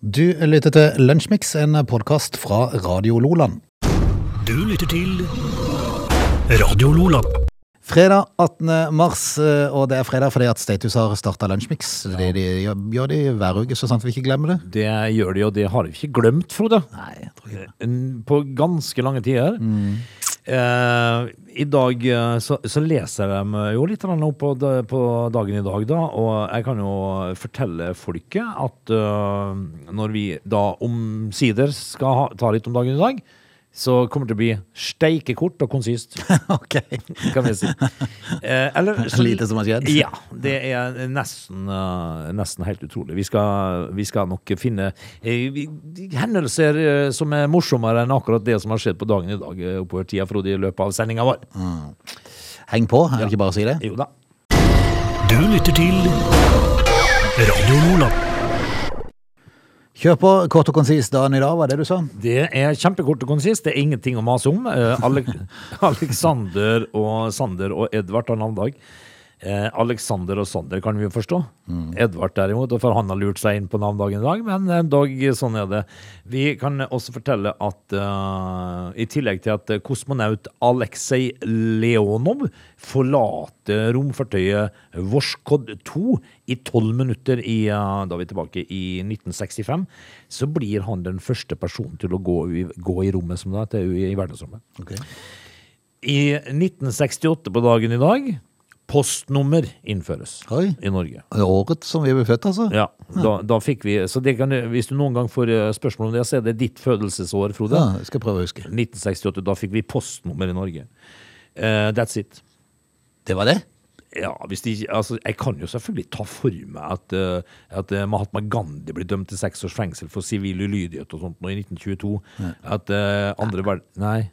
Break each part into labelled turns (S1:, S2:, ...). S1: Du lytter til Lunsjmix, en podkast fra Radio Loland.
S2: Du lytter til Radio Lola.
S1: Fredag 18. mars, eh, og det er fredag fordi at Status har starta Lunsjmix. Det de gjør- gjør de hver uke, så sant vi ikke glemmer det.
S3: Det gjør de, og det har vi ikke glemt, Frode.
S1: Nei, jeg tror ikke det.
S3: En- På ganske lange tider. Eh, I dag eh, så, så leser de jo litt grann opp på, da- på dagen i dag, da. Og jeg kan jo fortelle folket at eh, når vi da omsider skal ha, ta litt om dagen i dag, så kommer det til å bli steikekort og konsist,
S1: Ok.
S3: kan vi si. Eh, eller så-
S1: Lite som har skjedd.
S3: ja, det er nesten, eh, nesten helt utrolig. Vi skal, vi skal nok finne eh, vi- hendelser eh, som er morsommere enn akkurat det som har skjedd på dagen i dag eh, oppover tida, Frode, i løpet av sendinga vår.
S1: Mm. Heng på, er det ikke bare å si det?
S3: Jo da.
S2: Du lytter til Radio Lola.
S1: Kjør på kort og konsis dagen i dag, var det du sa?
S3: Det er kjempekort og konsist. Det er ingenting å mase om. Eh, Ale- Alexander og Sander og Edvard har navnedag. Eh, Alexander og Sander kan vi jo forstå.
S1: Mm.
S3: Edvard derimot, og for han har lurt seg inn på navnedagen i dag, men eh, dog, sånn er det. Vi kan også fortelle at eh, i tillegg til at kosmonaut Aleksej Leonov forlater romfartøyet Vorskod 2 i tolv minutter i, eh, da er vi tilbake i 1965, så blir han den første personen til å gå, i- gå i rommet, som det heter, i, i verdensrommet.
S1: Ok.
S3: I 1968 på dagen i dag, postnummer innføres
S1: Oi.
S3: i Norge.
S1: Året som vi ble født, altså?
S3: Ja, da, da fikk vi, så det kan, du- Hvis du noen gang får eh, spørsmål om det, så er det ditt fødelsesår, Frode.
S1: Ja, jeg skal prøve å huske.
S3: 1968, da fikk vi postnummer i Norge. Eh, that's it.
S1: Det var det?
S3: Ja, hvis de, ikke- altså, Jeg kan jo selvfølgelig ta for meg at, eh, at eh, Mahatma Gandhi ble dømt til seks års fengsel for sivil ulydighet og sånt nå i 1922. At eh, andre verden... Nei.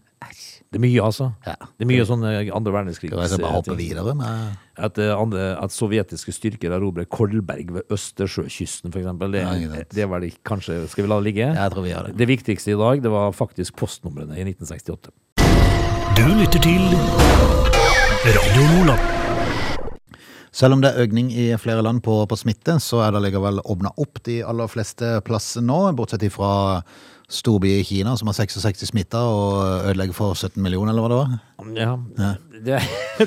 S3: Det er mye, altså.
S1: Ja.
S3: Det er mye sånn eh, andre verdenskrig.
S1: Skal jeg bare hoppe
S3: ting.
S1: videre med
S3: At, eh, andre, at sovjetiske styrker erobrer Kolberg ved Østersjøkysten, f.eks. Det,
S1: Ja, ikke sant.
S3: det var det kanskje Skal vi la det ligge?
S1: Jeg tror vi gjør det.
S3: Det viktigste i dag, det var faktisk postnumrene i 1968.
S2: Du lytter til Radio Lola.
S1: Selv om det er økning i flere land på, på smitte, så er det likevel åpna opp de aller fleste plasser nå, bortsett fra storby i Kina, som har 66 smitta og ødelegger for 17 millioner, eller hva det var.
S3: Ja. Det,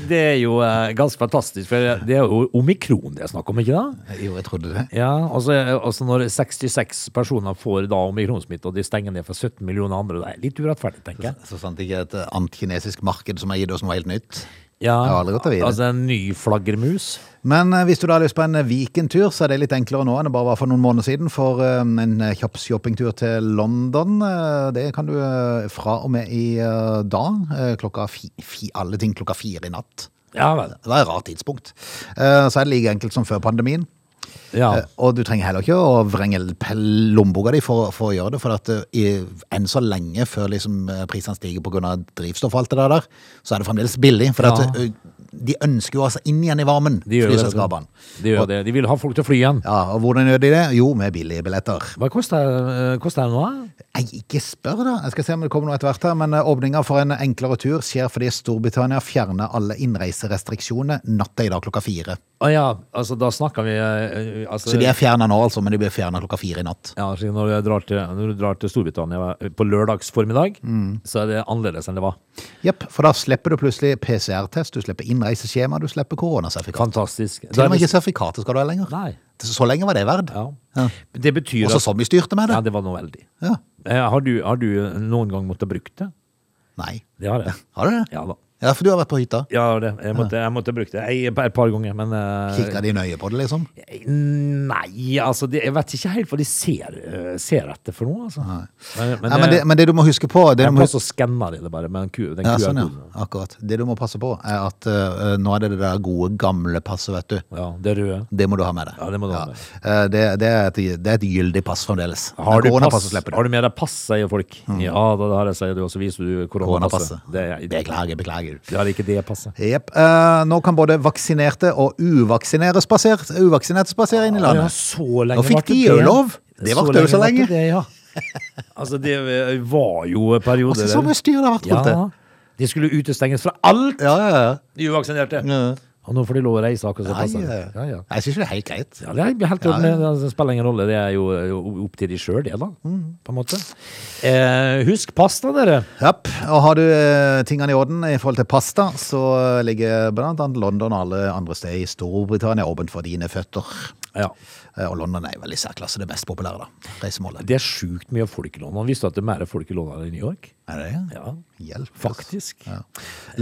S3: det er jo eh, ganske fantastisk, for det er jo omikron det er snakk om, ikke det?
S1: Jo, jeg trodde det.
S3: Ja, altså, altså når 66 personer får da omikronsmitte, og de stenger ned for 17 millioner andre, det er litt urettferdig, tenker jeg.
S1: Så sant ikke et antikinesisk marked som er gitt oss noe helt nytt.
S3: Ja,
S1: Jeg har aldri gått av videre.
S3: altså en ny flaggermus.
S1: Men eh, hvis du da har lyst på en Viken-tur, så er det litt enklere nå enn det bare var for noen måneder siden. For eh, en kjapp shoppingtur til London, eh, det kan du eh, fra og med i eh, dag. eh, Klokka fi, fi, alle ting klokka fire i natt.
S3: Ja vel.
S1: Det var et rart tidspunkt. Eh, Så er det like enkelt som før pandemien.
S3: Ja.
S1: Eh, Og du trenger heller ikke å vrenge pel- lommeboka di for, for å gjøre det. For at eh, i, enn så lenge før liksom eh, prisene stiger pga. drivstoff og alt det der, så er det fremdeles billig. For at,
S3: Ja.
S1: eh, de ønsker jo altså inn igjen i varmen,
S3: De gjør jo det.
S1: flyselskapene.
S3: De gjør det. De vil ha folk til å fly igjen.
S1: Ja, og hvordan gjør de det? Jo, med billige billetter.
S3: Hva koster, eh, koster det nå? da?
S1: Nei, ikke spør da. Jeg skal se om det kommer noe etter hvert her, men eh, åpninga for en enklere tur skjer fordi Storbritannia fjerner alle innreiserestriksjoner natta i dag klokka fire.
S3: Å ja, altså da snakker vi eh, altså,
S1: Så de er fjerna nå, altså, men de blir fjerna klokka fire i natt.
S3: ja, så når, du drar til, når du drar til Storbritannia på lørdags formiddag,
S1: Mm.
S3: så er det annerledes enn det var.
S1: Jepp, for da slipper du plutselig PCR-test, du slipper innreiseskjema, du slipper koronasertifikat.
S3: Fantastisk.
S1: Til og med ikke sertifikatet skal du ha lenger.
S3: Nei.
S1: Så lenge var det verd.
S3: Ja.
S1: Ja.
S3: Det betyr
S1: Også som vi styrte med
S3: at Ja,
S1: det.
S3: det var noe veldig.
S1: Ja.
S3: Eh, Har du, har du noen gang måttet bruke det?
S1: Nei.
S3: Det har jeg.
S1: Har du det?
S3: Ja da.
S1: Ja, for du har vært på hytta.
S3: Ja, det. Jeg, måtte, jeg måtte bruke det Jeg- et par ganger, men eh,
S1: Kikka de nøye på det, liksom?
S3: Nei, altså det, Jeg vet ikke helt hva de ser, eh, ser etter for noe, altså. Men, men, eh,
S1: Nei, men, det, men det du må huske på det
S3: jeg
S1: du må
S3: må
S1: huske...
S3: også skanne det bare med en ku. Den
S1: Ja, sånn, ja.
S3: QR-koden.
S1: Akkurat. Det du må passe på, er at eh, nå er det det der gode, gamle passet, vet du.
S3: ja, det røde.
S1: Det må du ha med deg.
S3: Ja, det må du ha med
S1: Eh, det, det, er et, det er et gyldig pass fremdeles.
S3: Har du,
S1: Koronapasset
S3: pass,
S1: slipper du.
S3: har du med deg pass, sier folk.
S1: Mm.
S3: Ja, da, det har jeg, sier du, og så viser du koronapasset.
S1: Koronapasset.
S3: Det, er-
S1: Beklager, beklager.
S3: det er ikke det passet.
S1: Jepp. Eh, nå kan både vaksinerte og uvaksinerte spasere, uvaksinerte spasere inn i
S3: Ja,
S1: landet.
S3: så lenge
S1: Nå fikk
S3: varte
S1: de
S3: det.
S1: jo lov. Det varte jo så
S3: varte
S1: lenge.
S3: Det, ja. Altså, det eh, var jo perioder
S1: Altså, så mye styr det har vært rundt det.
S3: Ja, de skulle utestenges fra alt,
S1: Ja, ja, ja.
S3: de uvaksinerte.
S1: Ja.
S3: Og nå får de lov å reise akkurat som
S1: Nei,
S3: passer.
S1: eh,
S3: Ja, ja.
S1: Jeg syns jo det er helt greit.
S3: Ja, det er helt
S1: Ja,
S3: klart,
S1: ja.
S3: men det spiller ingen rolle. Det er jo jo opp til de sjøl, det, da.
S1: Mm.
S3: På en måte. Eh, husk pasta, dere.
S1: Japp, og har du eh, tingene i orden i forhold til pasta, så eh, ligger blant annet London og alle andre steder i Storbritannia åpent for dine føtter.
S3: Ja.
S1: Eh, Og London er jo vel i særklasse det mest populære, da. Reisemålet.
S3: Det er sjukt mye folk i London. Visste du at det er mer folk i London enn i New York?
S1: Er det det?
S3: Ja,
S1: Hjelp. oss.
S3: faktisk.
S1: Ja.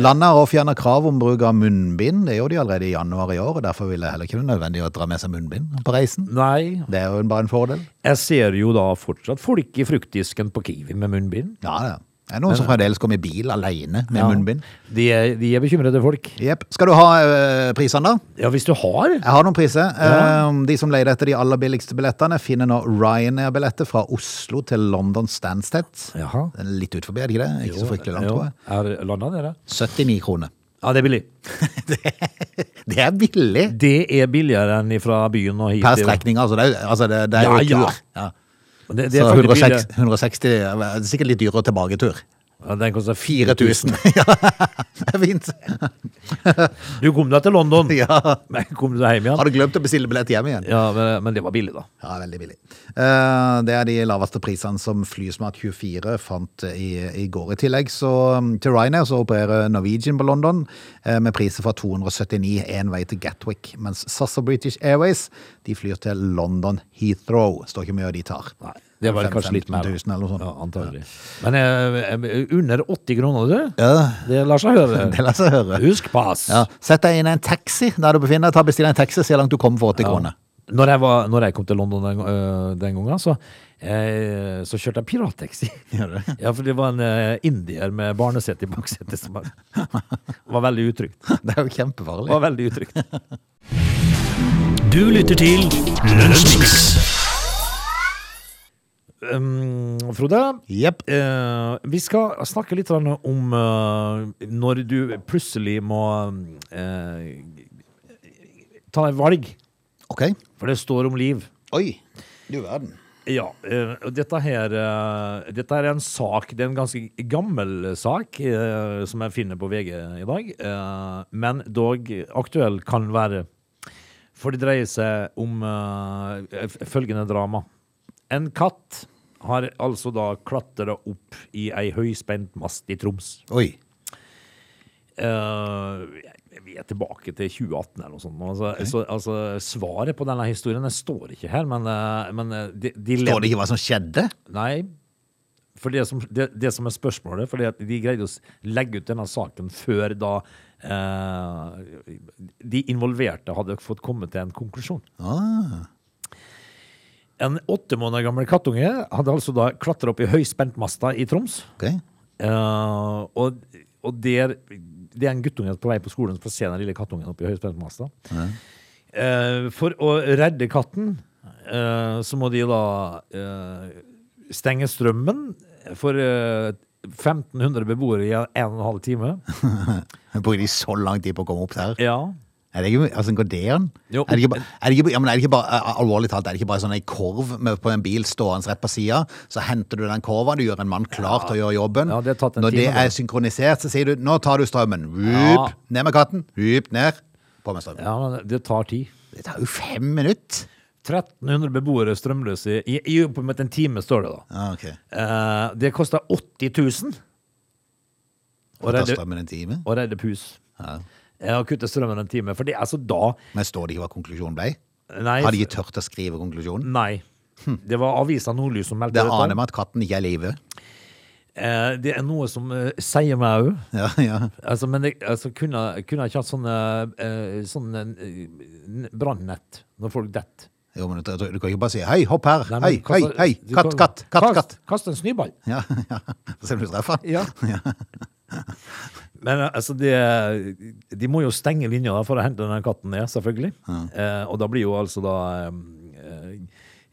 S1: Landet har også fjernet krav om bruk av munnbind. Det gjorde de allerede i januar i år, og derfor ville det heller ikke være nødvendig å dra med seg munnbind på reisen.
S3: Nei,
S1: Det er jo bare en fordel.
S3: jeg ser jo da fortsatt folk i fruktdisken på Kiwi med munnbind.
S1: Ja, det er. Det er noen som fremdeles kommer i bil alene med
S3: Ja.
S1: munnbind.
S3: De er, de er bekymrede folk.
S1: Jep. Skal du ha eh, prisene, da?
S3: Ja, hvis du har.
S1: Jeg har noen priser. Eh, De som leter etter de aller billigste billettene, finner nå Ryanair-billetter fra Oslo til London Stansted.
S3: Jaha.
S1: Den er Litt ut forbi, er det ikke det? Ikke så fryktelig langt,
S3: Jo,
S1: tror jeg.
S3: Er landa dere?
S1: 79 kroner.
S3: Ja, det er billig.
S1: Det er billig!
S3: Det er billigere enn fra byen og hit.
S1: Per strekning, altså. Det er, jo- altså, det, det er jo
S3: Ja, ja.
S1: tur. Ja.
S3: Det, det
S1: Så
S3: er
S1: 160,
S3: faktisk billigere.
S1: 160 det er Sikkert litt dyrere tilbaketur.
S3: Ja, den koster
S1: 4000. Ja, det er fint.
S3: Du kom deg til London,
S1: Ja.
S3: men kom du deg hjem igjen?
S1: Har du glemt å bestille billett hjem igjen?
S3: Ja, men, men det var billig, da.
S1: Ja, veldig billig. Eh, Det er de laveste prisene som Flysmart24 fant i, i går. I tillegg så um, til Ryanair så opererer Norwegian på London eh, med priser fra 279 én vei til Gatwick, mens SAS og British Airways de flyr til London Heathrow. Står ikke mye de tar.
S3: Nei, det var
S1: Fem-
S3: kanskje litt mer. da.
S1: 15 000 eller noe sånt.
S3: Ja, antagelig. Men eh, eh, under 80 kroner, du?
S1: Ja,
S3: Det lar seg høre.
S1: det lar seg høre.
S3: Husk pass.
S1: Ja. Sett deg inn i en taxi der du befinner deg. Ta Bestill deg en taxi så langt du kom for 80 kroner.
S3: Når jeg, var, når jeg kom til London den, øh, den gangen, så, eh, så kjørte jeg pirattaxi. Ja, for det var en eh, indier med barnesete i baksetet som var, var veldig utrygt.
S1: Det er jo kjempefarlig.
S3: Var veldig utrygt.
S2: Du lytter til Lunsjmix.
S3: Um, Frode,
S1: Jepp.
S3: eh, vi skal snakke litt grann om eh, når du plutselig må eh, ta et valg,
S1: Ok.
S3: for det står om liv.
S1: Oi. Du verden.
S3: Ja, eh, og dette her eh, Dette her er en sak, det er en ganske gammel sak eh, som jeg finner på VG i dag, eh, men dog aktuell kan være. For det dreier seg om eh, f- følgende drama. En katt har altså da klatra opp i ei høyspent mast i Troms.
S1: Oi.
S3: Eh, vi er tilbake til 2018 eller noe sånt. nå. Altså, så, altså, svaret på denne historien det står ikke her, men, eh, men eh, de, de
S1: Står det ikke hva som skjedde?
S3: Nei. For det som, det, det som er spørsmålet, fordi at de greide å s- legge ut denne saken før da eh, de involverte hadde fått komme til en konklusjon.
S1: Ah,
S3: En åtte måneder gammel kattunge hadde altså da klatra opp i høyspentmasta i Troms.
S1: Ok.
S3: Eh, og og der, det er en guttunge på vei på skolen som får se den lille kattungen oppi høyspentmasta. Eh, for å redde katten, eh, så må de da eh, stenge strømmen for eh, 1500 beboere i en og en halv time.
S1: Bruker de så lang tid på å komme opp der?
S3: Ja.
S1: Er det ikke, altså, går det an?
S3: Jo.
S1: Er det ikke, ba- er det ikke, ja, men er det ikke bare, eh, alvorlig talt, er det ikke bare sånn ei korv med, på en bil stående rett på sida, så henter du den korva, du gjør en mann klar til å gjøre jobben.
S3: Ja, det har tatt en
S1: Når det
S3: time, det.
S1: er synkronisert, så sier du 'nå tar du strømmen'.
S3: Ja.
S1: Vup, ned med katten. Vup, ned. På med strømmen.
S3: ja, men det tar tid.
S1: Det tar jo fem minutter.
S3: 1300 beboere strømløse i, i oppimot en time, står det da.
S1: Ja, ok.
S3: Eh, det koster 80 000 å
S1: Og tar
S3: redde,
S1: strømmen en time.
S3: å redde pus.
S1: Ja.
S3: Eh, Å kutte strømmen en time. For det er altså da
S1: Men står det ikke hva konklusjonen ble?
S3: Nei. Mm.
S1: Har de ikke tørt å skrive konklusjonen?
S3: Nei. Det var avisa Nordlys som meldte
S1: Det
S3: dette.
S1: aner meg at katten ikke er i live.
S3: Eh, det er noe som eh, sier meg òg.
S1: Ja, ja.
S3: Altså, men det, altså, kunne, kunne jeg ikke hatt sånn eh, sånn eh, brannett når folk detter?
S1: Jo, men du, du kan ikke bare si 'hei, hopp her',
S3: Nei, men
S1: 'hei, hei,
S3: kast-
S1: hei',
S3: du
S1: katt,
S3: kan-
S1: katt, katt,
S3: kast,
S1: katt.
S3: Kast en snøball.
S1: Ja, ja. Så ser du treffer.
S3: Ja. Men eh, altså, det, de må jo stenge linja da, for å hente den katten ned, selvfølgelig. Eh, og da blir jo altså da eh,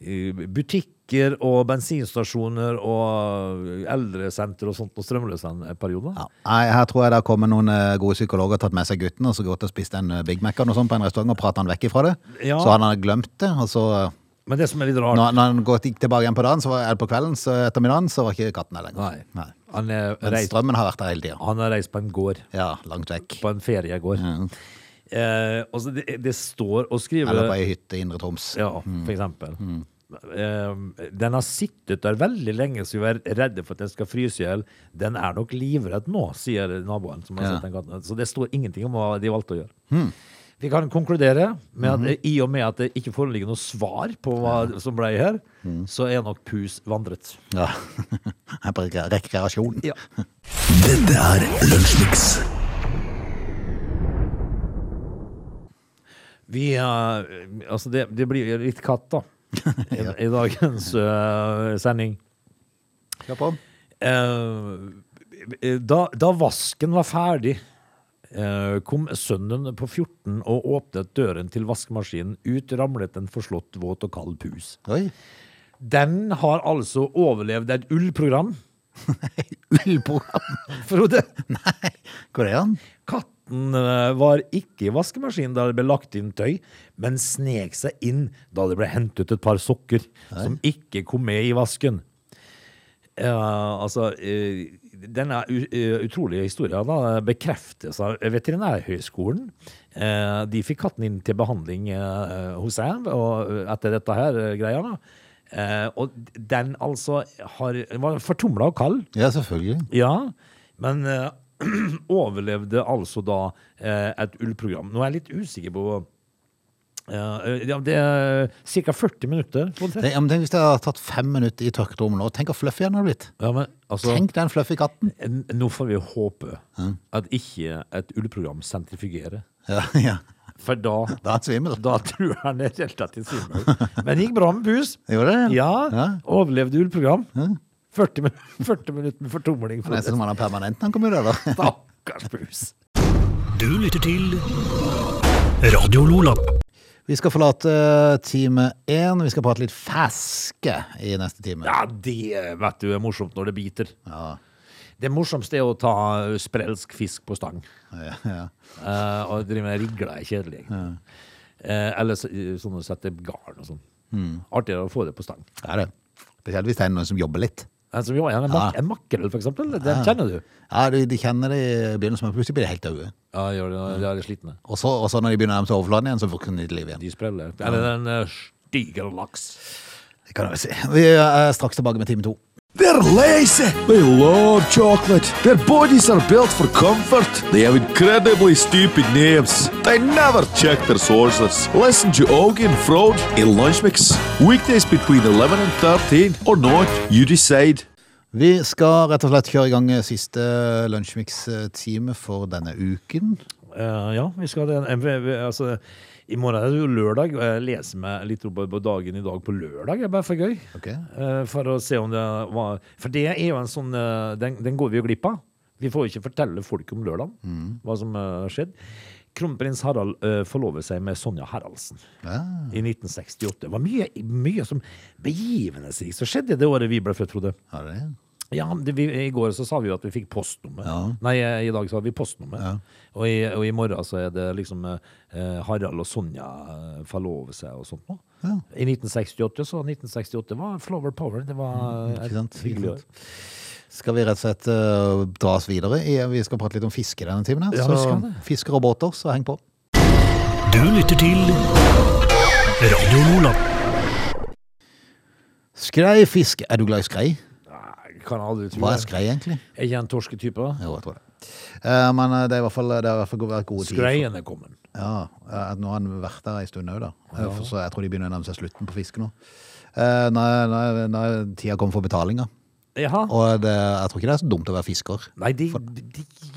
S3: eh, butikker og bensinstasjoner og eldresenter og sånt på strømløse en periode.
S1: Ja. Nei, her tror jeg det har kommet noen eh, gode psykologer tatt med seg gutten og så gått og spist en eh, Big Mac eller noe sånt på en restaurant og pratet han vekk ifra det.
S3: Ja.
S1: Så han har glemt det, og så eh,
S3: Men det som er litt
S1: når,
S3: rart
S1: han- når han gått, gikk tilbake igjen på dagen, så var, eller på kvelden, så ettermiddagen, så var ikke katten der lenger.
S3: Nei. Han, er
S1: Men
S3: reist,
S1: strømmen har vært der hele tida.
S3: han er reist på en gård.
S1: Ja, langt vekk.
S3: På en feriegård. Eh, altså det, det står å skrive
S1: Eller på ei hytte i Indre Troms.
S3: Ja, for eksempel. Eh, den har sittet der veldig lenge, så vi er redde for at den skal fryse i hjel. Den er nok livredd nå, sier naboen. som har
S1: Ja.
S3: sett den katten. Så det står ingenting om hva de valgte å gjøre. Vi kan konkludere med at i og med at det ikke foreligger noe svar på hva som ble her, så er nok pus vandret.
S1: Ja. Her på rekre- rekreasjon.
S3: Ja.
S4: Dette er Lunsjmix.
S3: Vi, eh, altså det, det blir litt katt, da, i, i dagens eh, sending.
S1: Kjør på.
S3: Eh, da, da vasken var ferdig, eh, kom sønnen på 14 og åpnet døren til vaskemaskinen. Ut ramlet en forslått, våt og kald pus.
S1: Oi.
S3: Den har altså overlevd et ullprogram,
S1: Ullprogram.
S3: Frode.
S1: Nei, går det an?
S3: Katten eh, var ikke i vaskemaskinen da det ble lagt inn tøy, men snek seg inn da det ble hentet ut et par sokker som ikke kom med i vasken. Eh, altså, eh, denne u- eh, utrolige historien da, eh, bekreftes av Veterinærhøgskolen. Eh, de fikk katten inn til behandling eh, hos seg og, eh, etter dette her eh, greia. Da. Eh, og den altså har, var fortumla og kald.
S1: Ja, selvfølgelig.
S3: Ja, men eh, overlevde altså da eh, et ullprogram. Nå er jeg litt usikker på eh, ja, Det er ca. 40 minutter. på det.
S1: Tenk, ja, men tenk hvis det har tatt fem minutter i tørkerommet nå. Tenk hvor fluffy den har blitt.
S3: Ja, men altså
S1: Tenk den fluffy katten.
S3: n- Nå får vi håpe at ikke et ullprogram sentrifugerer.
S1: Ja, ja.
S3: For da,
S1: Da er han svimmel.
S3: da tror jeg han er relativt svimmel. Men det gikk bra med pus.
S1: Gjorde det? Ja.
S3: Ja, overlevde ullprogram. 40, min- 40 minutter med fortumling.
S1: Det er nesten som han har permanent når han kommer ut, eller?
S3: Stakkars pus.
S2: Du lytter til Radio Lola.
S1: Vi skal forlate eh, time én. Vi skal prate litt ferske i neste time.
S3: Ja, det vet du er morsomt når det biter.
S1: Ja.
S3: Det morsomste er å ta sprelsk fisk på stang.
S1: Ja, ja.
S3: eh, og drive med rigler er kjedelig. egentlig. Eh, eller så, sånn å sette garn og sånn.
S1: Hmm.
S3: Artigere å få det på stang. Altså,
S1: Det er det. Spesielt hvis det er noen som jobber litt.
S3: En, som, ja, en, mak en makrell, for eksempel. Den kjenner du.
S1: Ja, De, de kjenner det i begynnelsen, men plutselig blir de helt daue.
S3: Ja, gjør det. De er litt slitne.
S1: Og så og så når de begynner å nærme seg overflaten igjen, så våkner de til liv igjen.
S3: De spreller. Eller en uh, stiger laks.
S1: Det kan jeg vel si. Vi er straks tilbake med time to.
S4: They're lazy. They love chocolate. Their bodies are built for comfort. They have incredibly stupid names. They never check their sources. Listen to Augie and Frode in Lunch Mix. Weekdays between 11 and 13 or not, you decide.
S1: Vi skal rett og slett kjøre i gang siste lunsjmix-time for denne uken.
S3: Eh, ja, vi skal det. Eh, vi- vi- Altså, I morgen er det jo lørdag, og jeg leser meg litt opp på dagen i dag på lørdag. Det er bare for gøy.
S1: Ok.
S3: Eh, for å se om det var For det er jo en sånn eh, Den, den går vi jo glipp av. Vi får jo ikke fortelle folk om lørdagen, hva som eh, skjedde. Kronprins Harald eh, forlover seg med Sonja Haraldsen i 1968. Det var mye, mye som begivenhetsrikt som skjedde det året vi ble født, Frode.
S1: Ja, det er det.
S3: Ja, det, vi, I går så sa vi jo at vi fikk postnummer. Nei, i dag så har vi postnummer. Og, i, og i morgen så er det liksom eh, Harald og Sonja eh, forlover seg og sånt noe. I 1968 så 1968 var Flower Power. Det var eh,
S1: Mm, Ikke sant?
S3: et hyggelig
S1: Ikke
S3: år.
S1: sant? Skal vi rett og slett eh, dra oss videre? i- Vi skal prate litt om fiske denne timen. her,
S3: Ja, vi skal
S1: så
S3: det.
S1: fisker og båter, så heng på.
S2: Du lytter til Radio Lola.
S1: Skreifisk. Er du glad i skrei?
S3: Nei, kan jeg aldri tro
S1: Hva er
S3: det.
S1: skrei, egentlig?
S3: Er ikke en torsketype? da?
S1: Jo, jeg tror det. Eh, Men eh, det er i hvert fall, det har i hvert fall vært gode tider. for-
S3: Skreien er kommet.
S1: Ja, eh, at nå har han vært der en stund òg, da. Eh, For så jeg tror de begynner å nærme seg slutten på fisket nå. Eh, Når, når, når tida kommer for betalinga.
S3: Jaha.
S1: Og det, jeg tror ikke det er så dumt å være fisker.
S3: Nei, de, de,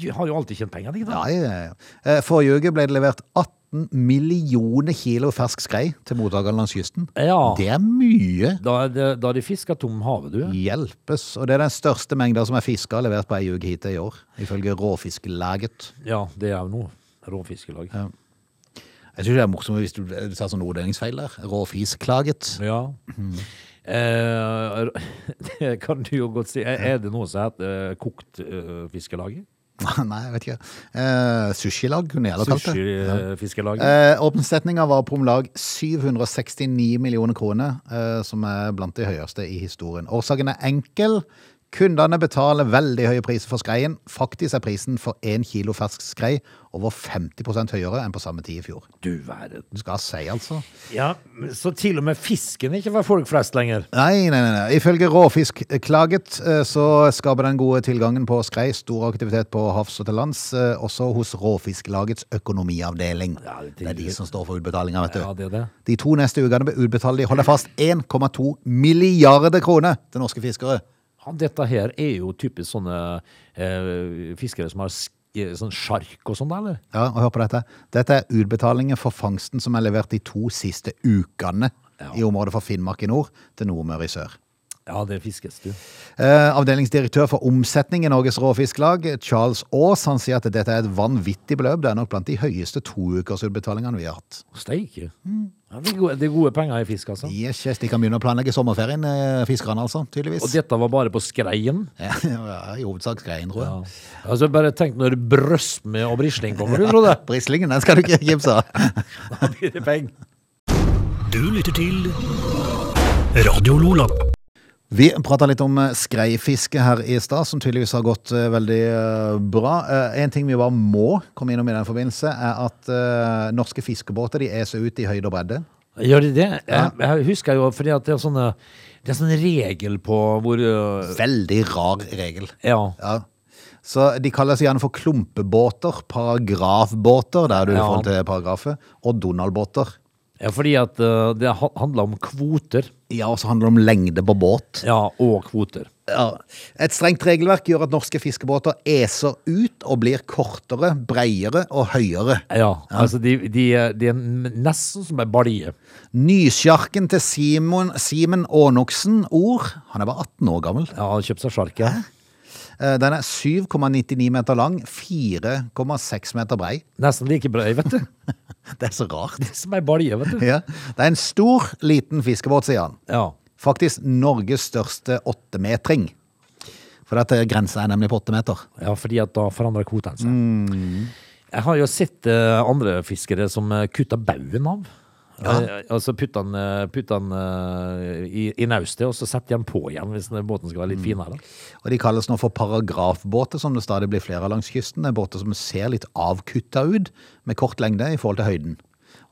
S3: de har jo alltid tjent penger, de. da.
S1: Nei, eh, eh, Forrige uke ble det levert 18 millioner kilo fersk skrei til mottakerne langs kysten.
S3: Ja.
S1: Det er mye.
S3: Da, er det- da de fisker tom havet, du.
S1: Hjelpes. Og det er den største mengda som er fiska levert på ei uke hittil i år, ifølge Råfisklaget.
S3: Ja, det er jo noe. Råfiskelag.
S1: Jeg syns det er morsomt hvis du, du tar sånn orddelingsfeil der. Råfisklaget.
S3: Ja. Eh, det kan du jo godt si. Er er det noe som heter eh, kokt eh, fiskelaget?
S1: Nei, jeg vet ikke. Eh, Sushilag kunne jeg heller kalt det.
S3: Sushi-fiskelaget?
S1: Eh, Åpningssetninga var på om lag 769 millioner kroner, eh, som er blant de høyeste i historien. Årsaken er enkel. Kundene betaler veldig høye priser for skreien. Faktisk er prisen for én kilo fersk skrei over 50 høyere enn på samme tid i fjor.
S3: Du verden.
S1: Skal si, altså.
S3: Ja, så til og med fisken er ikke for folk flest lenger.
S1: Nei, nei, nei. nei. Ifølge Råfiskklaget eh, så skaper den gode tilgangen på skrei stor aktivitet på havs og til lands, eh, også hos Råfisklagets økonomiavdeling.
S3: Ja, det er
S1: det er de
S3: tydelig.
S1: som står for utbetalinga, vet du.
S3: Ja, det er det.
S1: De to neste ukene utbetaler de, hold deg fast, 1,2 milliarder kroner til norske fiskere.
S3: Ja, dette her er jo typisk sånne eh, fiskere som har sk eh, sånn sjark og sånn, da, eller?
S1: Ja, og hør på dette. Dette er utbetalinger for fangsten som er levert de to siste ukene
S3: Ja.
S1: i området fra Finnmark i nord til Nordmøre i sør.
S3: Ja, det fiskes, du.
S1: Eh, Avdelingsdirektør for omsetning i Norges Råfisklag, Charles Aas, han sier at dette er et vanvittig beløp. Det er nok blant de høyeste toukersutbetalingene vi har hatt.
S3: Steike. Ja, det, er gode, det er gode penger i fisk, altså.
S1: Mm. Yes, yes, de kan begynne å planlegge sommerferien, eh, fiskerne altså, tydeligvis.
S3: Og dette var bare på skreien.
S1: Ja, ja, I hovedsak skreien, tror jeg.
S3: Altså, bare tenk når brøstme og brisling kommer, du, Frode.
S1: Brislingen, den skal du ikke kimse av.
S3: Da blir det penger.
S2: Du lytter til Radio Lola.
S1: Vi prata litt om eh, skreifiske her i stad, som tydeligvis har gått eh, veldig eh, bra. Eh, en ting vi bare må komme innom i den forbindelse, er at eh, norske fiskebåter de eser ut i høyde og bredde.
S3: Gjør de det? Jeg, jeg husker jo, fordi at det er sånne det er sånn regel på hvor øh,
S1: Veldig rar regel.
S3: Ja.
S1: Ja. Så De kalles gjerne for klumpebåter, paragrafbåter, der er du i
S3: Ja.
S1: forhold til paragrafet, og Donald-båter.
S3: ja fordi at øh, det ha- handler om kvoter.
S1: Ja, og så handler det om lengde på båt.
S3: Ja, og kvoter.
S1: Ja. Et strengt regelverk gjør at norske fiskebåter eser ut og blir kortere, breiere og høyere.
S3: Ja, altså de, de, er- de er nesten som en balje.
S1: Nysjarken til Simon, Simen Aanoksen Ord, han er bare 18 år gammel,
S3: Ja, han kjøpte seg sjark, ja.
S1: Eh, den er 7,99 meter lang, 4,6 meter brei.
S3: Nesten like brei, vet du.
S1: Det er så rart.
S3: Som en balje, vet du.
S1: Ja. Det er en stor, liten fiskebåt, sier han.
S3: Ja.
S1: Faktisk Norges største åttemetring. For dette grensa er nemlig på åtte meter.
S3: ja, fordi at da forandrer kvotene seg.
S1: Mm.
S3: Jeg har jo sett eh, andre fiskere som eh, kutter baugen av. Eh, altså putter den, eh, putter den eh, i, i naustet, og så setter de den på igjen hvis den båten skal være
S1: Mm.
S3: litt finere.
S1: Og de kalles nå for paragrafbåter, som det stadig blir flere av langs kysten. Det er båter som ser litt avkutta ut, med kort lengde i forhold til høyden.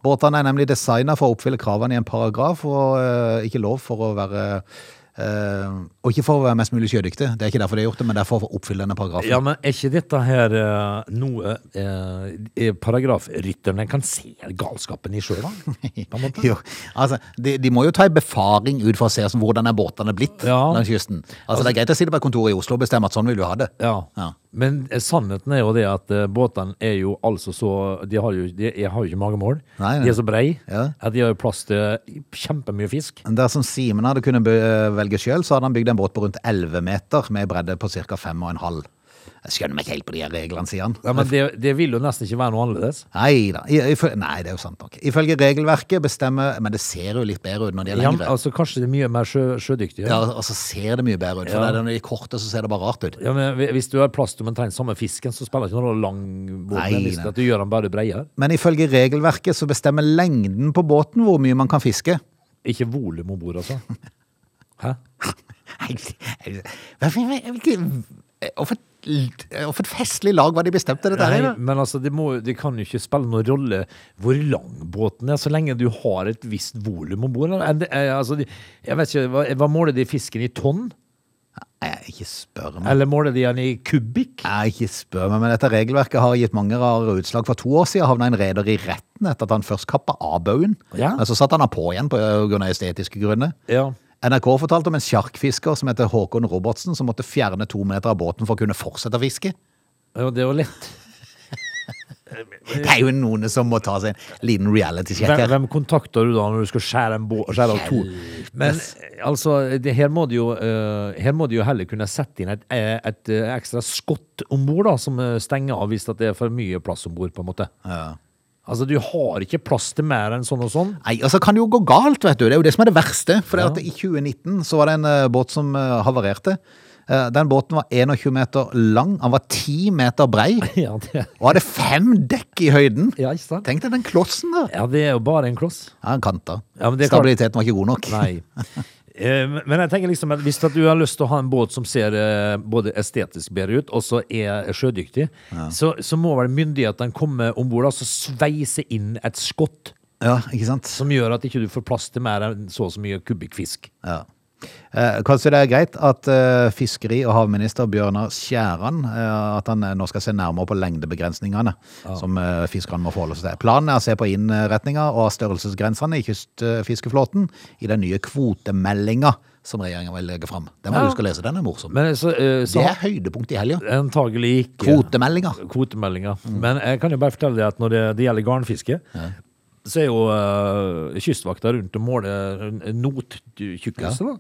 S1: Båtene er nemlig designa for å oppfylle kravene i en paragraf, og eh, ikke lov for å være eh, Og ikke for å være mest mulig sjødyktig, det er ikke derfor de har gjort det, men derfor for å oppfylle denne paragrafen.
S3: Ja, men er ikke dette her eh, noe eh, paragrafrytterne kan se galskapen i sjøl, da? På en måte?
S1: Jo, altså, de, de må jo ta en befaring ut for å se som, hvordan er båtene blitt
S3: Ja.
S1: langs kysten. Altså, det er greit å sitte på et kontor i Oslo og bestemme at sånn vil du ha det.
S3: Ja.
S1: Ja.
S3: Men eh, sannheten er jo det at eh, båtene er jo altså så De har jo, de, jeg har jo ikke mange mål.
S1: Nei, nei.
S3: De er så brei
S1: Ja.
S3: at de har jo plass til kjempemye fisk.
S1: Dersom Simen hadde kunnet be- eh, velge sjøl, så hadde han bygd en båt på rundt 11 meter med en bredde på ca. 5,5. Jeg skjønner meg ikke helt på de her reglene, sier han.
S3: Ja, men det, det vil jo nesten ikke være noe annerledes.
S1: Nei da. I- ifø- Nei, det er jo sant nok. Ifølge regelverket bestemmer Men det ser jo litt bedre ut når de er
S3: Ja, men
S1: lengre.
S3: altså Kanskje det er mye mer sjø, sjødyktige.
S1: Ja, altså ser det mye bedre ut. For det er når de er korte, så ser det bare rart ut.
S3: Ja, men hvi- Hvis du har plass til omtrent samme fisken, så spiller det ikke noen rolle lang båt.
S1: Nei,
S3: men Hvis
S1: nei.
S3: at du gjør den bare bredere.
S1: Men ifølge regelverket så bestemmer lengden på båten hvor mye man kan fiske.
S3: Ikke volum om bord, altså. Hæ?
S1: Nei, jeg- Hvorfor jeg vet ikke- hvorfor- Hvorfor et festlig lag var de bestemte dette her?
S3: Nei,
S1: da?
S3: men altså, det, må, det kan jo ikke spille noen rolle hvor lang båten er, så lenge du har et visst volum om bord. eller? Er det- er- Altså, de- jeg vet ikke, hva, hva måler de fisken i tonn?
S1: Nei, ikke spør meg.
S3: Eller måler de den i kubikk?
S1: Nei, ikke spør meg, men dette regelverket har gitt mange rare utslag. For to år siden havna en reder i retten etter at han først kappa av baugen.
S3: Ja.
S1: Men så satte han han på igjen på grunn av estetiske grunner.
S3: Ja.
S1: NRK fortalte om en sjarkfisker som heter Håkon Robertsen, som måtte fjerne to meter av båten for å kunne fortsette å fiske.
S3: ja, det er jo lett.
S1: Det er jo noen som må ta seg en liten reality-sjekk
S3: Hvem,
S1: her.
S3: hvem kontakter du da når du skal skjære en bå- skjære av to? Men altså, det, her, må du jo, eh, her må du jo heller kunne sette inn et, eh, et eh, ekstra skott om bord, som eh, stenger av hvis at det er for mye plass om bord, på en måte.
S1: Ja.
S3: Altså, du har ikke plass til mer enn sånn og sånn.
S1: Nei, og så kan det jo gå galt, vet du. Det er jo det som er det verste. For det at i 2019 så var det en eh, båt som eh, havarerte. Eh, den båten var 21 meter lang, han var 10 meter brei,
S3: Ja, det,
S1: og hadde fem dekk i høyden.
S3: ja, ikke sant?
S1: Tenk deg den klossen der.
S3: Ja, det er jo bare en kloss.
S1: Ja, han kanta.
S3: Ja, men det er klart-
S1: Stabiliteten var ikke god nok.
S3: Nei. Eh, Men jeg tenker liksom at hvis at du har lyst til å ha en båt som ser eh, både estetisk bedre ut, og så er sjødyktig, så, så må vel myndighetene komme om bord og så sveise inn et skott
S1: Ja, ikke sant?
S3: som gjør at ikke du får plass til mer enn så og så mye kubikkfisk.
S1: Ja. Eh, Kanskje det er greit at eh, fiskeri- og havminister Bjørnar Skjæran eh, at han eh, nå skal se nærmere på lengdebegrensningene som eh, fiskerne må forholde seg til. Planen er å se på innretninga og størrelsesgrensene i kystfiskeflåten i den nye kvotemeldinga som regjeringa vil legge fram. Den må
S3: Ja.
S1: du huske å lese, den er morsom.
S3: Men så, eh,
S1: Det
S3: så
S1: er Mm. høydepunktet i helga.
S3: antagelig ikke
S1: Kvotemeldinga.
S3: kvotemeldinga. Men jeg kan jo bare fortelle deg at når det, det gjelder garnfiske, så er jo eh, kystvakta rundt og måler eh, nottjukkelse. da.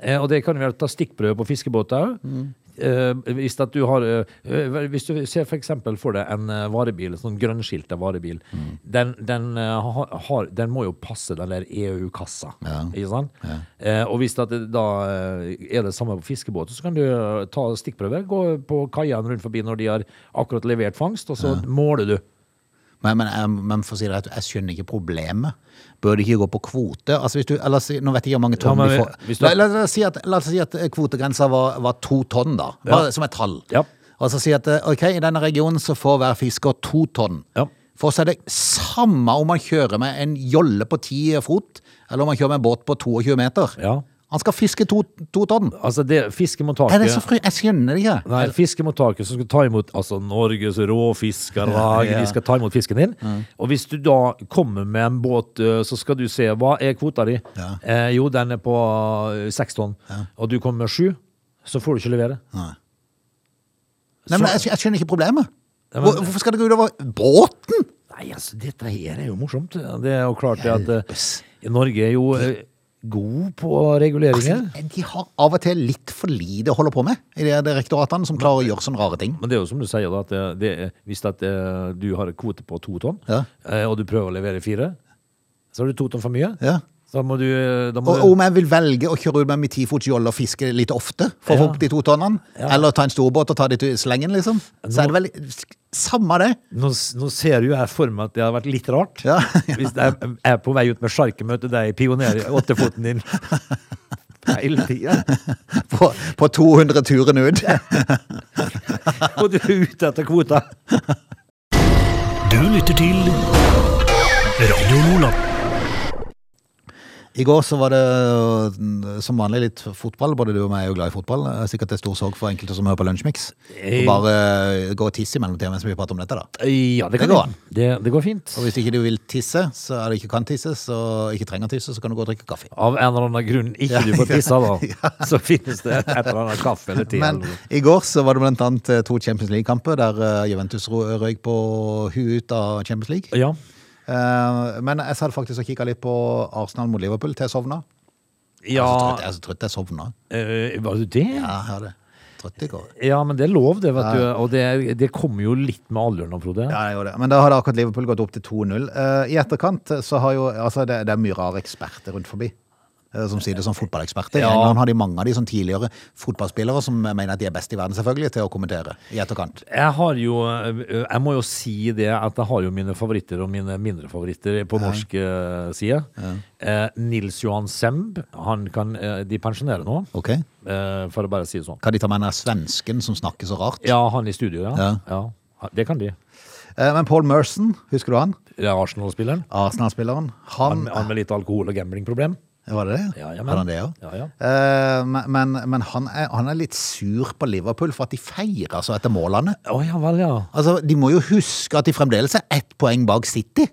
S3: Eh, og det kan jo være å ta stikkprøve på fiskebåter òg.
S1: Mm.
S3: hvis, at du har, eh, eh, hvis du ser for eksempel for deg en eh, varebil, en sånn grønnskilta varebil,
S1: Mm.
S3: den, den, eh, har, har, den må jo passe den der EU-kassa. Ikke sant? Eh, og hvis at det da eh, er det samme på fiskebåter, så kan du eh, ta stikkprøver. Gå på kaiene rundt forbi når de har akkurat levert fangst, og så måler du.
S1: Men, men, jeg- men for å si det rett, jeg skjønner ikke problemet. Bør det ikke gå på kvote? Altså hvis du, eller, si- nå vet jeg ikke hvor mange tonn
S3: Ja, men
S1: vi
S3: vi-
S1: får.
S3: hvis du-
S1: La, la, oss si at, la oss si at kvotegrensa var, var to tonn, da. Bare som et tall.
S3: Ja.
S1: Og så si at eh, ok, i denne regionen så får hver fisker to tonn.
S3: Ja.
S1: For så er det samme om man kjører med en jolle på ti fot, eller om man kjører med en båt på 22 meter.
S3: Ja.
S1: Han skal fiske to, to tonn.
S3: Altså, det, fiskemottaket
S1: Er det så fry... Jeg skjønner det ikke.
S3: Nei, fiskemottaket som skal ta imot altså Norges råfiskere,
S1: ja. Mm.
S3: de skal ta imot fisken din. Og hvis du da kommer med en båt, eh, så skal du se hva er kvota di.
S1: Ja.
S3: Eh, jo, den er på eh, seks tonn. Og du kommer med sju, så får du ikke levere.
S1: Nei, men
S3: Så-
S1: jeg, skj- jeg skjønner ikke problemet.
S3: Ja, men-
S1: Hvor- Hvorfor skal det gå utover båten?
S3: Nei, altså, dette her er jo morsomt. Det er jo klart det at
S1: Hjelpes.
S3: eh, Norge er jo eh, god på reguleringer.
S1: Altså, de har av og til litt for lite å holde på med i de direktoratene som klarer å gjøre sånne rare ting.
S3: Men det er jo som du sier, da, at det, det, er- hvis at, eh, du har en kvote på to tonn,
S1: Ja.
S3: eh, og du prøver å levere fire, så har du to tonn for mye.
S1: Ja.
S3: Da må du, eh, da må
S1: Og
S3: du
S1: om jeg vil velge å kjøre ut med min tifots jolle og fiske litt ofte for å få
S3: Ja.
S1: opp de to tonnene, eller ta en storbåt og ta de til slengen, liksom, så er det vel samme det.
S3: nå, s- nå ser jo jeg for meg at det har vært litt rart.
S1: Ja, ja.
S3: Hvis jeg er på vei ut med sjarken, møter deg i pioner-åttefoten din hele tida.
S1: På, på 200 turen ut.
S3: Og du er ute etter kvota.
S2: Du lytter til Radio Lola.
S1: I går så var det øh, som vanlig litt fotball. Både du og meg er jo glad i fotball. Det er Sikkert det er stor sorg for enkelte som hører på Lunsjmix.
S3: Eh.
S1: Bare øh, gå og tisse imellom tida mens vi prater om dette, da.
S3: Ja, det kan
S1: Det går
S3: jeg. Det, det går fint.
S1: Og hvis ikke du vil tisse, så er det ikke kan tisse, så ikke trenger tisse, så kan du gå og drikke kaffe.
S3: Av en eller annen grunn ikke du får tissa, da, så finnes det et eller annet kaffe eller te.
S1: Men
S3: eller noe.
S1: i går så var det blant annet eh, to Champions League-kamper der eh, Juventus ro- røyk på huet ut av Champions League.
S3: Ja.
S1: Eh, Men jeg satt faktisk og kikka litt på Arsenal mot Liverpool til jeg sovna. Jeg
S3: ja
S1: er så trøtt- jeg er så trøtt jeg sovna.
S3: eh, Var du det?
S1: Ja, jeg er det. Trøtt i går.
S3: Ja, men det er lov, det, vet du. Og det, det kommer jo litt med alderen nå, Frode.
S1: Ja, jeg gjorde det. Men da hadde akkurat Liverpool gått opp til 2-0. Eh, I etterkant så har jo Altså, det, det er mye rare eksperter rundt forbi. eh, Som sier det som fotballeksperter. I
S3: Ja.
S1: England har de mange av de som tidligere fotballspillere som mener at de er best i verden, selvfølgelig, til å kommentere i etterkant.
S3: Jeg har jo eh, Jeg må jo si det at jeg har jo mine favoritter og mine mindre favoritter på norsk eh, side. Eh, Nils Johan Semb, han kan eh, De pensjonerer nå,
S1: Ok?
S3: eh, for å bare si det sånn.
S1: Hva de tar med den der svensken som snakker så rart?
S3: Ja, han i studio, ja.
S1: Ja.
S3: ja. Det kan de.
S1: Eh, Men Paul Merson, husker du han?
S3: Det er Arsenal-spilleren.
S1: Arsenal-spilleren.
S3: Han,
S1: Han,
S3: han med litt alkohol- og gamblingproblem.
S1: Var det det?
S3: Ja, ja, men-
S1: Hadde han det òg?
S3: Ja, ja.
S1: men men, men han, er, han er litt sur på Liverpool for at de feirer så etter målene.
S3: Å ja vel, ja.
S1: Altså, De må jo huske at de fremdeles er ett poeng bak City.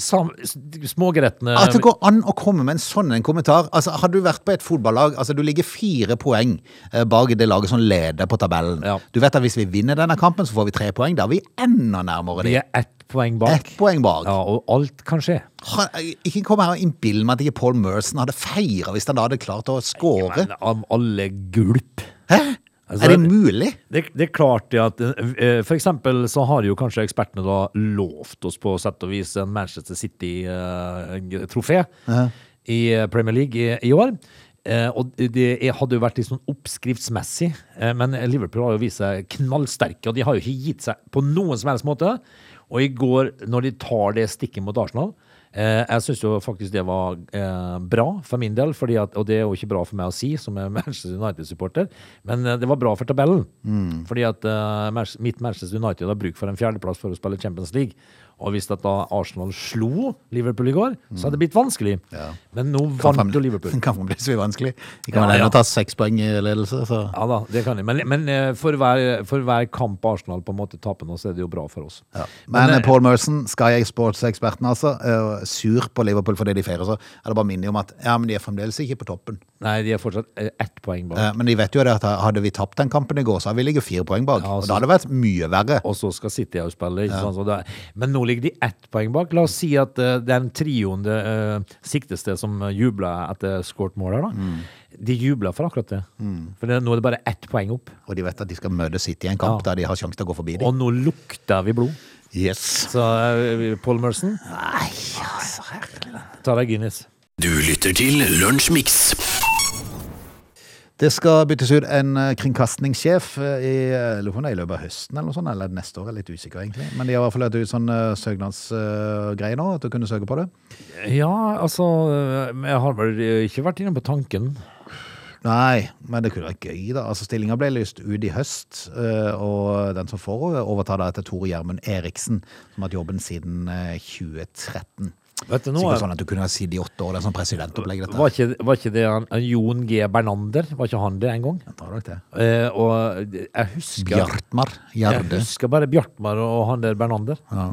S3: Sam, s- smågretne
S1: At det Ah, går an å komme med en sånn en kommentar. Altså, Hadde du vært på et fotballag altså Du ligger fire poeng eh, bak det laget som leder på tabellen.
S3: Ja.
S1: Du vet at hvis vi vinner denne kampen, så får vi tre poeng. Da er vi enda nærmere
S3: Vi
S1: dem.
S3: er ett poeng bak.
S1: Ett poeng bak.
S3: Ja, og alt kan skje.
S1: Han, ikke kom her og innbill meg at ikke Paul Merson hadde feira hvis han da hadde klart å score.
S3: Men av alle gulp.
S1: Hæ?
S3: Altså,
S1: er det mulig?
S3: Det, det er klart det at eh, For eksempel så har jo kanskje ekspertene da lovt oss på sett og vis en Manchester eh, City-trofé i eh, Premier League i, i år. Eh, og det er- hadde jo vært litt sånn oppskriftsmessig, eh, men Liverpool har jo vist seg knallsterke, og de har jo ikke gitt seg på noen som helst måte. Og i går, når de tar det stikket mot Arsenal, Eh, jeg syns jo faktisk det var eh, bra for min del, fordi at, og det er jo ikke bra for meg å si som er Manchester United-supporter, men eh, det var bra for tabellen.
S1: Mm.
S3: Fordi at eh, Manch- mitt Manchester United har bruk for en fjerdeplass for å spille Champions League. Og hvis at da Arsenal slo Liverpool i går, så hadde det blitt vanskelig. Men nå vant jo Liverpool.
S1: Kan fremdeles bli vanskelig. De kan
S3: Ja,
S1: vel
S3: ja.
S1: ennå ta seks poeng i ledelse, så
S3: Ja da, det kan de. Men, men eh, for, hver, for hver kamp Arsenal på en måte taper nå, så er det jo bra for oss.
S1: ja. Men
S3: Men,
S1: eh,
S3: eh,
S1: Paul Merson, Sky Sports-eksperten, altså, er sur på Liverpool fordi de feirer, så er det bare minne om at ja, men de er fremdeles ikke på toppen.
S3: Nei, de er fortsatt eh, ett poeng bak.
S1: Eh, Men de vet jo det at hadde vi tapt den kampen i går, så hadde vi ligget fire poeng bak.
S3: Ja, altså-
S1: Og da hadde det vært mye verre.
S3: Og så skal City også spille. Ikke sant? Så det er, men nå ligger de ett poeng bak. La oss si at eh, den trioen det eh, siktes til som jubla etter skåret mål her, da.
S1: Mm.
S3: De jubla for akkurat det. For det, nå er det bare ett poeng opp.
S1: Og de vet at de skal møte City i en kamp
S3: Ja.
S1: der de har sjanse til å gå forbi dem.
S3: Og nå lukter vi blod.
S1: Yes.
S3: Så eh, Paul Merson Nei, altså, Ta deg Guinness.
S2: Du lytter til Lunsjmix.
S1: Det skal byttes ut en eh, kringkastingssjef eh, i, eh, lurer på om det er i løpet av høsten eller noe sånt, eller neste år, jeg er litt usikker egentlig. Men de har i hvert fall lagt ut sånn eh, søknadsgreie nå, at du kunne søke på det.
S3: Ja, altså eh, men Jeg har vel eh, ikke vært inne på tanken.
S1: Nei, men det kunne vært gøy da. Altså stillinga ble lyst ut i høst, eh, og den som får over- overtar da etter Tore Gjermund Eriksen, som har hatt jobben siden eh, 2013.
S3: Vet du, nå
S1: Sikkert
S3: er-
S1: sånn at du kunne ha sittet i åtte år, det er sånn presidentopplegg dette.
S3: var ikke, var ikke det han, eh, Jon G. Bernander? Var ikke han det en gang?
S1: Jeg tar nok det.
S3: Eh, og jeg husker
S1: Bjartmar,
S3: Jeg
S1: Gjerde.
S3: husker bare Bjartmar og han der Bernander.
S1: Ja.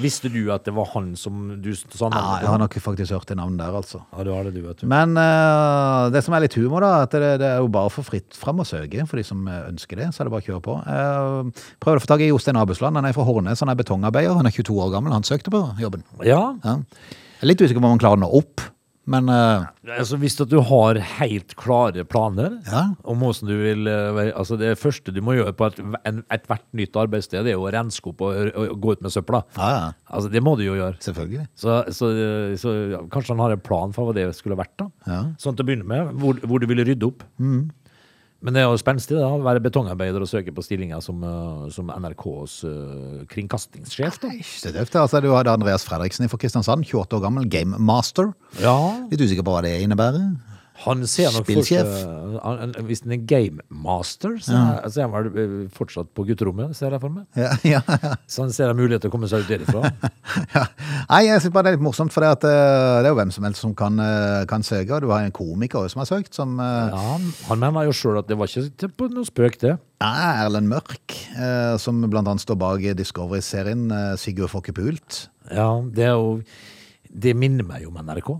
S3: Visste du at det var han som du
S1: ja,
S3: sa navnet
S1: jeg har nok faktisk hørt det navnet der altså.
S3: Ja, det var det du, vet du.
S1: Men eh, det som er litt humor, da, at det, det er jo bare for fritt fram å søke for de som eh, ønsker det. Så er det bare å kjøre på. Uh, prøvde å få tak i Jostein Abusland. Han er fra Hornes, han er betongarbeider. Han er 22 år gammel. Han søkte på jobben.
S3: Ja,
S1: Ja. Jeg er litt usikker på om han klarer å nå opp, men eh,
S3: altså hvis at du har helt klare planer
S1: Ja.
S3: om hvordan du vil eh, være Altså det første du må gjøre på et, en, ethvert nytt arbeidssted, er jo å renske opp og, og gå ut med søpla.
S1: ja, ja,
S3: Altså det må du jo gjøre.
S1: selvfølgelig.
S3: Så, så, så ja, kanskje han har en plan for hva det skulle vært, da.
S1: Ja. Mm.
S3: Sånn til å begynne med, hvor, hvor du ville rydde opp. Men det er jo spenstig da, å være betongarbeider og søke på stillinger som, eh, som NRKs eh, kringkastingssjef. Da.
S1: Nei, ikke så tøft. Altså, du hadde Andreas Fredriksen fra Kristiansand, 28 år gammel, gamemaster.
S3: Ja,
S1: Litt usikker på hva det innebærer.
S3: han ser nok for seg-
S1: Spillsjef.
S3: han- han- Hvis han er gamemaster, så er- så er han vel eh, fortsatt på gutterommet, ser jeg for meg.
S1: Ja, ja, ja.
S3: Så han ser en mulighet til å komme seg ut derifra.
S1: Ja. Nei, jeg synes bare det er litt morsomt, for det, at, eh, det er jo hvem som helst som kan, eh, kan søke. Og du har en komiker også som har søkt, som eh,
S3: Ja, han, han mener jo sjøl at det var ikke til- på noe spøk, det.
S1: er Erlend Mørk, eh, som blant annet står bak Discovery-serien eh, Sigurd Fokkepult.
S3: Ja, det er jo Det minner meg jo om NRK.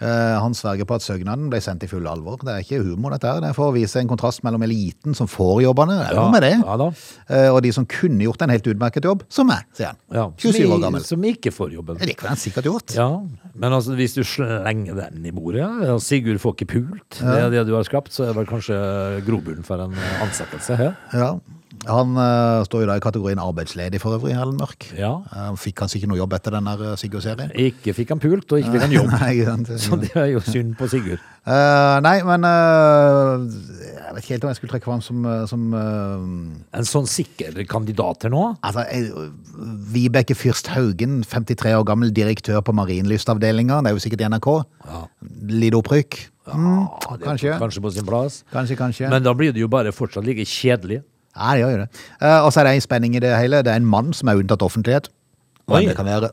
S1: Eh, han sverger på at søknaden ble sendt i full alvor. Det er ikke humor, dette her. Det er for å vise en kontrast mellom eliten som får jobbene, det er noe med det.
S3: Ja da.
S1: Eh, og de som kunne gjort en helt utmerket jobb, som meg, sier han.
S3: Ja,
S1: 27 år
S3: som i-
S1: gammel.
S3: Som ikke får jobben.
S1: Det kunne han sikkert gjort.
S3: Ja, men altså, hvis du slenger den i bordet, ja, og Sigurd får ikke pult, det er det du har skapt, så er det vel kanskje grobunnen for en ansettelse her.
S1: Ja. Han eh, står jo da i kategorien arbeidsledig for øvrig, Erlend Mørk.
S3: Ja.
S1: Eh, fikk kanskje ikke noe jobb etter den der eh, Sigurd-serien.
S3: Ikke fikk han pult, og ikke fikk han jobb.
S1: Nei, ikke sant?
S3: Så det er jo synd på Sigurd.
S1: Eh, nei, men eh, jeg vet ikke helt om jeg skulle trekke fram som, eh, som eh,
S3: En sånn sikker kandidat her nå?
S1: Altså, jeg- Vibeke Fyrst Haugen, 53 år gammel direktør på Marienlystavdelinga. Det er jo sikkert i NRK.
S3: Ja.
S1: Litt opprykk. Mm,
S3: Ja, det er
S1: kanskje.
S3: Kanskje på sin plass.
S1: Kanskje, kanskje.
S3: Men da blir det jo bare fortsatt like kjedelig.
S1: ja, det gjør jo det. Eh, og så er det en spenning i det hele. Det er en mann som er unntatt offentlighet.
S3: Oi.
S1: Hvem det kan være.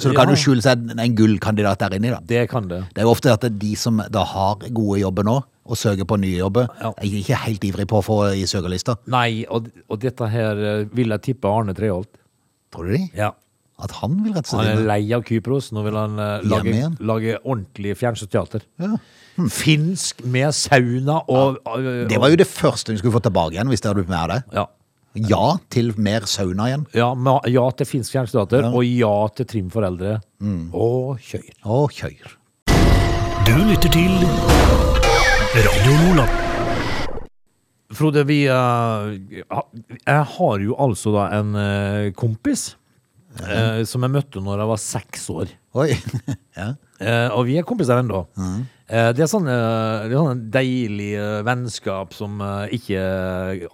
S1: Så det kan
S3: Ja.
S1: jo skjule seg en- en gullkandidat der inne, da.
S3: Det kan det.
S1: Det er jo ofte at det er de som da har gode jobber nå, og søker på nye jobber,
S3: Ja.
S1: er ikke helt ivrig på å få i søkerlista.
S3: Nei, og, og dette her eh, vil jeg tippe Arne Treholt.
S1: Tror du de?
S3: Ja.
S1: At han vil rett og
S3: Han
S1: slett
S3: er
S1: inn?
S3: lei av Kypros. Nå vil han eh, lage,
S1: Hjemme igjen?
S3: lage ordentlig fjernsynsteater.
S1: Ja. Hm.
S3: Finsk med sauna og eh,
S1: Det var jo det første hun skulle få tilbake igjen, hvis det hadde blitt med av det.
S3: ja.
S1: Ja til mer sauna igjen.
S3: Ja, ma- ja til finsk fjernsynsteater og ja til Trim foreldre.
S1: Hm.
S3: Og kjør.
S1: Å, kjør.
S2: Du lytter til Radio Lola.
S3: Frode, vi eh, ha- Jeg har jo altså da en eh, kompis eh, som jeg møtte når jeg var seks år.
S1: Oi. Ja.
S3: Eh, og vi er kompiser ennå. Eh, det er sånn, eh, det er sånn deilig eh, vennskap som eh, ikke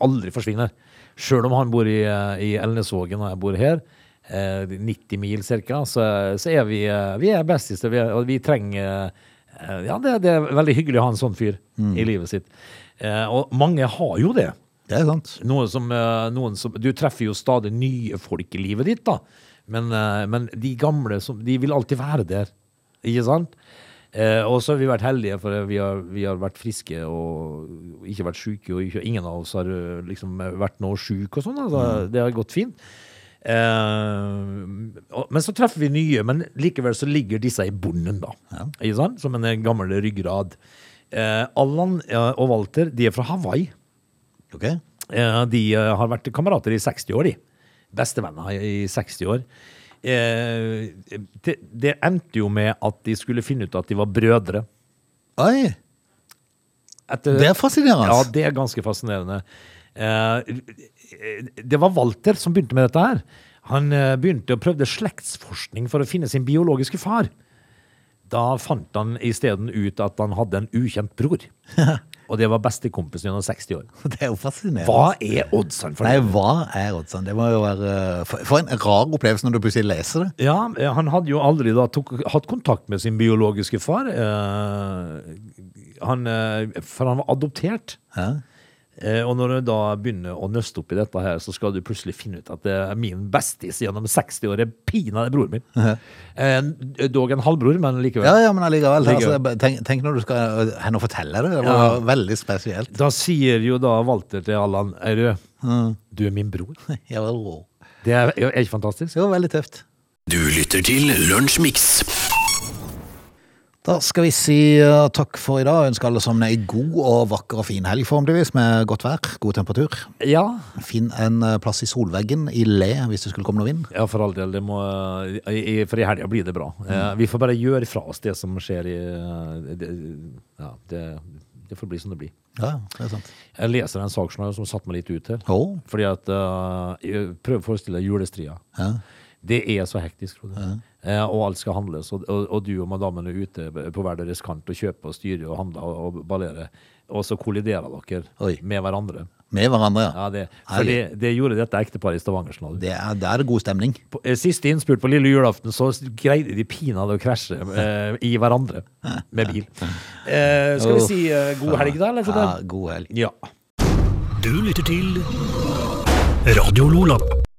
S3: aldri forsvinner. Sjøl om han bor i, eh, i Elnesvågen og jeg bor her, eh, 90 mil cirka, så, så er vi, eh, vi er bestister, vi er, og vi trenger eh, Ja, det, det er veldig hyggelig å ha en sånn fyr i livet sitt. Eh, og mange har jo det.
S1: Det er sant.
S3: Noe som, eh, noen som Du treffer jo stadig nye folk i livet ditt, da. Men, eh, men de gamle som, de vil alltid være der, ikke sant? Eh, og så har vi vært heldige, for vi har, vi har vært friske og ikke vært syke. Og ikke, ingen av oss har eh, liksom vært noe syk og sånn. Altså, det har gått fint. Eh, og, men så treffer vi nye, men likevel så ligger disse i bunnen, da. Ikke sant? Som en eh, gammel ryggrad. Eh, Allan eh, og Walter, de er fra Hawaii.
S1: Ok.
S3: Eh, De eh, har vært kamerater i 60 år, de. Bestevenner i 60 år. Eh, Det, det endte jo med at de skulle finne ut at de var brødre.
S1: Oi,
S3: Etter-
S1: det er fascinerende.
S3: Ja, det er ganske fascinerende. Eh, Det var Walter som begynte med dette her. Han eh, begynte og prøvde slektsforskning for å finne sin biologiske far. Da fant han isteden ut at han hadde en ukjent bror. Og det var bestekompisen gjennom 60 år.
S1: Det er jo fascinerende.
S3: Hva er oddsene for det?
S1: Nei, hva er oddsene? Det må jo være eh, For for en rar opplevelse når du plutselig leser det.
S3: Ja, eh, han hadde jo aldri da tok, hatt kontakt med sin biologiske far. eh, han, eh, for han var adoptert. Eh, og når du da begynner å nøste opp i dette her, så skal du plutselig finne ut at det er min bestis gjennom 60 år er pinadø broren min. Eh, dog en halvbror, men likevel.
S1: Ja, ja, men allikevel. Altså,
S3: Likevel.
S1: bare tenk, tenk når du skal eh, hen og fortelle det. Det var
S3: Ja.
S1: veldig spesielt.
S3: Da sier jo da Walter til Allan Eirø Du er min bror.
S1: Ja, det var-
S3: Det er, er ikke fantastisk?
S1: det var veldig tøft.
S2: Du lytter til Lunsjmix.
S1: Da skal vi si eh, takk for i dag. Jeg ønsker alle sammen ei god og vakker og fin helg, forhåpentligvis, med godt vær, god temperatur.
S3: Ja.
S1: Finn en eh, plass i solveggen, i le, hvis det skulle komme noe vind.
S3: Ja, for all del. Det må, i, i- for i helga blir det bra. Eh, vi får bare gjøre fra oss det som skjer i eh, det, Ja, det, det får bli som det blir.
S1: Ja, det er sant.
S3: Jeg leser en saksjournal som satte meg litt ut her.
S1: Å.
S3: Fordi at eh, jeg Prøv å forestille deg julestria. Det er så hektisk, Frode. Eh, og alt skal handles. Og, og, og du og madammen er ute på hver deres kant og kjøper og styrer og handler og, og ballerer. Og så kolliderer dere
S1: Oi.
S3: med hverandre.
S1: Med hverandre, ja.
S3: Ja, det, for det, det gjorde dette ekteparet i Stavanger. Sånn.
S1: Det er, det er det god stemning.
S3: På- eh, Siste innspurt på lille julaften så greide de pinadø å krasje eh, i hverandre med bil. Eh, skal vi si eh, god helg, da? Eller,
S1: Ja,
S3: Frode?
S1: god helg.
S3: ja.
S2: Du lytter til Radio Lola.